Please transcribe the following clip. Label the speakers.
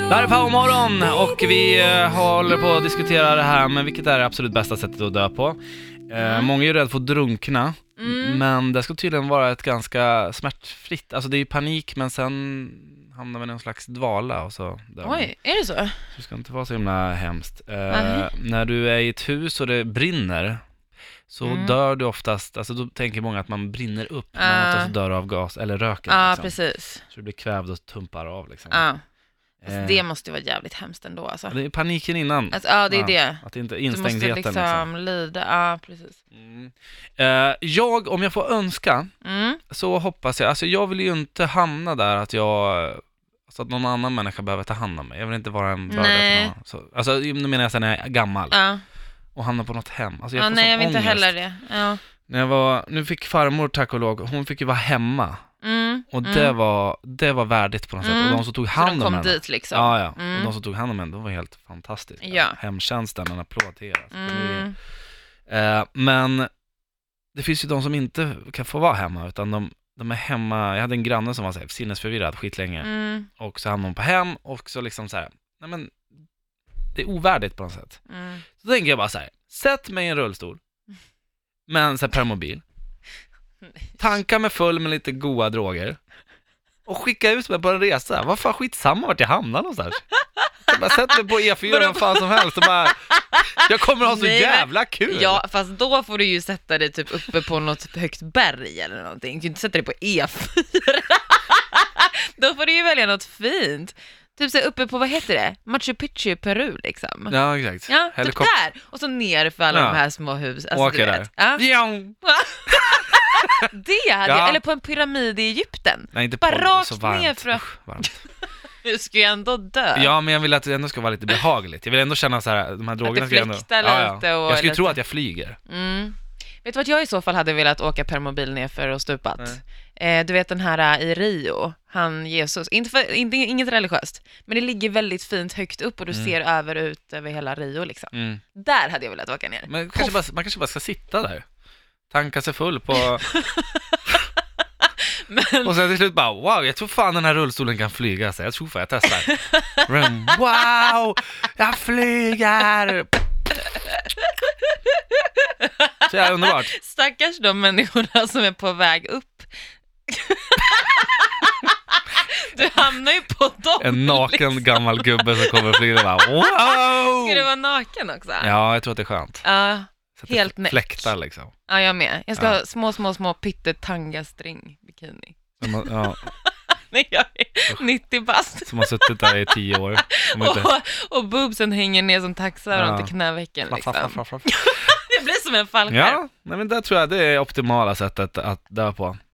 Speaker 1: Det här är Powermorgon och vi eh, håller på att diskutera det här med vilket är det absolut bästa sättet att dö på. Eh, många är ju rädda för att drunkna,
Speaker 2: Mm.
Speaker 1: men det ska tydligen vara ett ganska smärtfritt, alltså det är ju panik men sen hamnar man i någon slags dvala och så dör man.
Speaker 2: Oj, är det så?
Speaker 1: Så det ska inte vara så himla hemskt. Eh,
Speaker 2: Nej.
Speaker 1: när du är i ett hus och det brinner, så
Speaker 2: Mm.
Speaker 1: dör du oftast, alltså då tänker många att man brinner upp, men
Speaker 2: Ah.
Speaker 1: oftast dör du av gas eller röken.
Speaker 2: Ja,
Speaker 1: liksom.
Speaker 2: precis.
Speaker 1: Så du blir kvävd och tumpar av liksom.
Speaker 2: Ja. Alltså,
Speaker 1: Eh,
Speaker 2: det måste ju vara jävligt hemskt ändå alltså.
Speaker 1: det är paniken innan.
Speaker 2: alltså ja, det är
Speaker 1: Ja.
Speaker 2: det.
Speaker 1: Att det inte
Speaker 2: Du måste
Speaker 1: instängdheten
Speaker 2: liksom,
Speaker 1: liksom.
Speaker 2: lida, ja precis.
Speaker 1: Mm. Eh, jag, om jag får önska,
Speaker 2: Mm.
Speaker 1: så hoppas jag, alltså jag vill ju inte hamna där att jag, så att någon annan människa behöver ta hand om mig. Jag vill inte vara en börda
Speaker 2: Nej.
Speaker 1: för någon. annan. Så, alltså nu menar jag sen när jag är gammal
Speaker 2: Ja,
Speaker 1: och hamnar på något hem. Alltså jag
Speaker 2: ja
Speaker 1: får
Speaker 2: nej
Speaker 1: sån
Speaker 2: jag vill inte
Speaker 1: ångest.
Speaker 2: heller det. Ja.
Speaker 1: När jag var, nu fick farmor tack och lov, hon fick ju vara hemma.
Speaker 2: Mm.
Speaker 1: Och
Speaker 2: mm.
Speaker 1: det, var, det var värdigt på något sätt.
Speaker 2: Mm.
Speaker 1: Och de som tog
Speaker 2: Så
Speaker 1: hand
Speaker 2: de
Speaker 1: om
Speaker 2: kom
Speaker 1: henne.
Speaker 2: dit liksom.
Speaker 1: Ja, ja.
Speaker 2: Mm.
Speaker 1: Och de som tog hand om henne, de var helt fantastiska.
Speaker 2: Ja.
Speaker 1: Hemtjänsten, en applåd till er. Alltså, det är-
Speaker 2: Mm.
Speaker 1: Eh, men det finns ju de som inte kan få vara hemma, utan de, de är hemma. Jag hade en granne som var så här, sinnesförvirrad skitlänge,
Speaker 2: Mm.
Speaker 1: och så hamnade hon på hem, och så liksom så här, nej men, det är ovärdigt på något sätt.
Speaker 2: Mm.
Speaker 1: Så tänker jag bara så här, sätt mig i en rullstol, med en så här permobil, tanka mig full med lite goa droger, och skicka ut mig på en resa. Vad fan, skitsamma vart jag hamnar någonstans. Jag bara sätter mig på E4 vad fan som helst och bara, jag kommer ha så
Speaker 2: Nej, men-
Speaker 1: jävla kul!
Speaker 2: Ja, fast då får du ju sätta dig typ uppe på något högt berg eller någonting. Du kan ju inte sätta dig på E4. då får du ju välja något fint. Typ så här uppe på, vad heter det? Machu Picchu i Peru liksom.
Speaker 1: Ja, exakt.
Speaker 2: Ja, typ
Speaker 1: Helikopter-
Speaker 2: där. Och så ner för alla
Speaker 1: Ja.
Speaker 2: de här små husen.
Speaker 1: Alltså,
Speaker 2: Alltså,
Speaker 1: åka
Speaker 2: du
Speaker 1: där.
Speaker 2: vet. Ja.
Speaker 1: Bjong!
Speaker 2: Det hade
Speaker 1: Ja.
Speaker 2: jag, eller på en pyramid i Egypten.
Speaker 1: Nej, inte
Speaker 2: Bara
Speaker 1: podd,
Speaker 2: rakt
Speaker 1: så varmt.
Speaker 2: ner för-
Speaker 1: Usch, varmt.
Speaker 2: Du ska ju ändå dö.
Speaker 1: Ja, men jag vill att det ändå ska vara lite behagligt. Jag vill ändå känna så här, de här drogerna ska jag ändå...
Speaker 2: fläktar lite och
Speaker 1: Jag skulle
Speaker 2: lite-
Speaker 1: tro att jag flyger.
Speaker 2: Mm. Vet du vad jag i så fall hade velat åka per mobil nerför och stupat? Eh, du vet den här eh, i Rio, han Jesus, inte för, inte, inget religiöst, men det ligger väldigt fint högt upp och du ser över ut över hela Rio liksom.
Speaker 1: Mm.
Speaker 2: Där hade jag velat åka ner.
Speaker 1: Men kanske bara, man kanske bara ska sitta där. Tanka sig full på...
Speaker 2: Men-
Speaker 1: Och sen till slut bara, wow, jag tror fan den här rullstolen kan flyga. Så jag tror fan jag testar. Rum, wow, jag flyger! Så jävla underbart.
Speaker 2: Stackars de människorna som är på väg upp. du hamnar ju på dem.
Speaker 1: En naken gammal gubbe som kommer och flyger och bara, wow!
Speaker 2: Ska du vara naken också?
Speaker 1: Ja, jag tror att det är skönt.
Speaker 2: Ja,
Speaker 1: Så att det
Speaker 2: Helt
Speaker 1: fl-
Speaker 2: näck.
Speaker 1: Fläktar liksom.
Speaker 2: ja, jag med. Jag ska
Speaker 1: Ja.
Speaker 2: ha små, små, små pyttetanga-string bikini.
Speaker 1: Som har, ja,
Speaker 2: Nej, jag är 90 bast.
Speaker 1: som har suttit där i tio år. Som inte...
Speaker 2: Och, och boobsen hänger ner som taxar
Speaker 1: Ja.
Speaker 2: ja. till knävecken
Speaker 1: Flapp,
Speaker 2: liksom.
Speaker 1: flapp, flapp, flapp.
Speaker 2: Det blir som en fallskärm.
Speaker 1: Ja, nej, men där tror jag det är optimala sättet att dö på.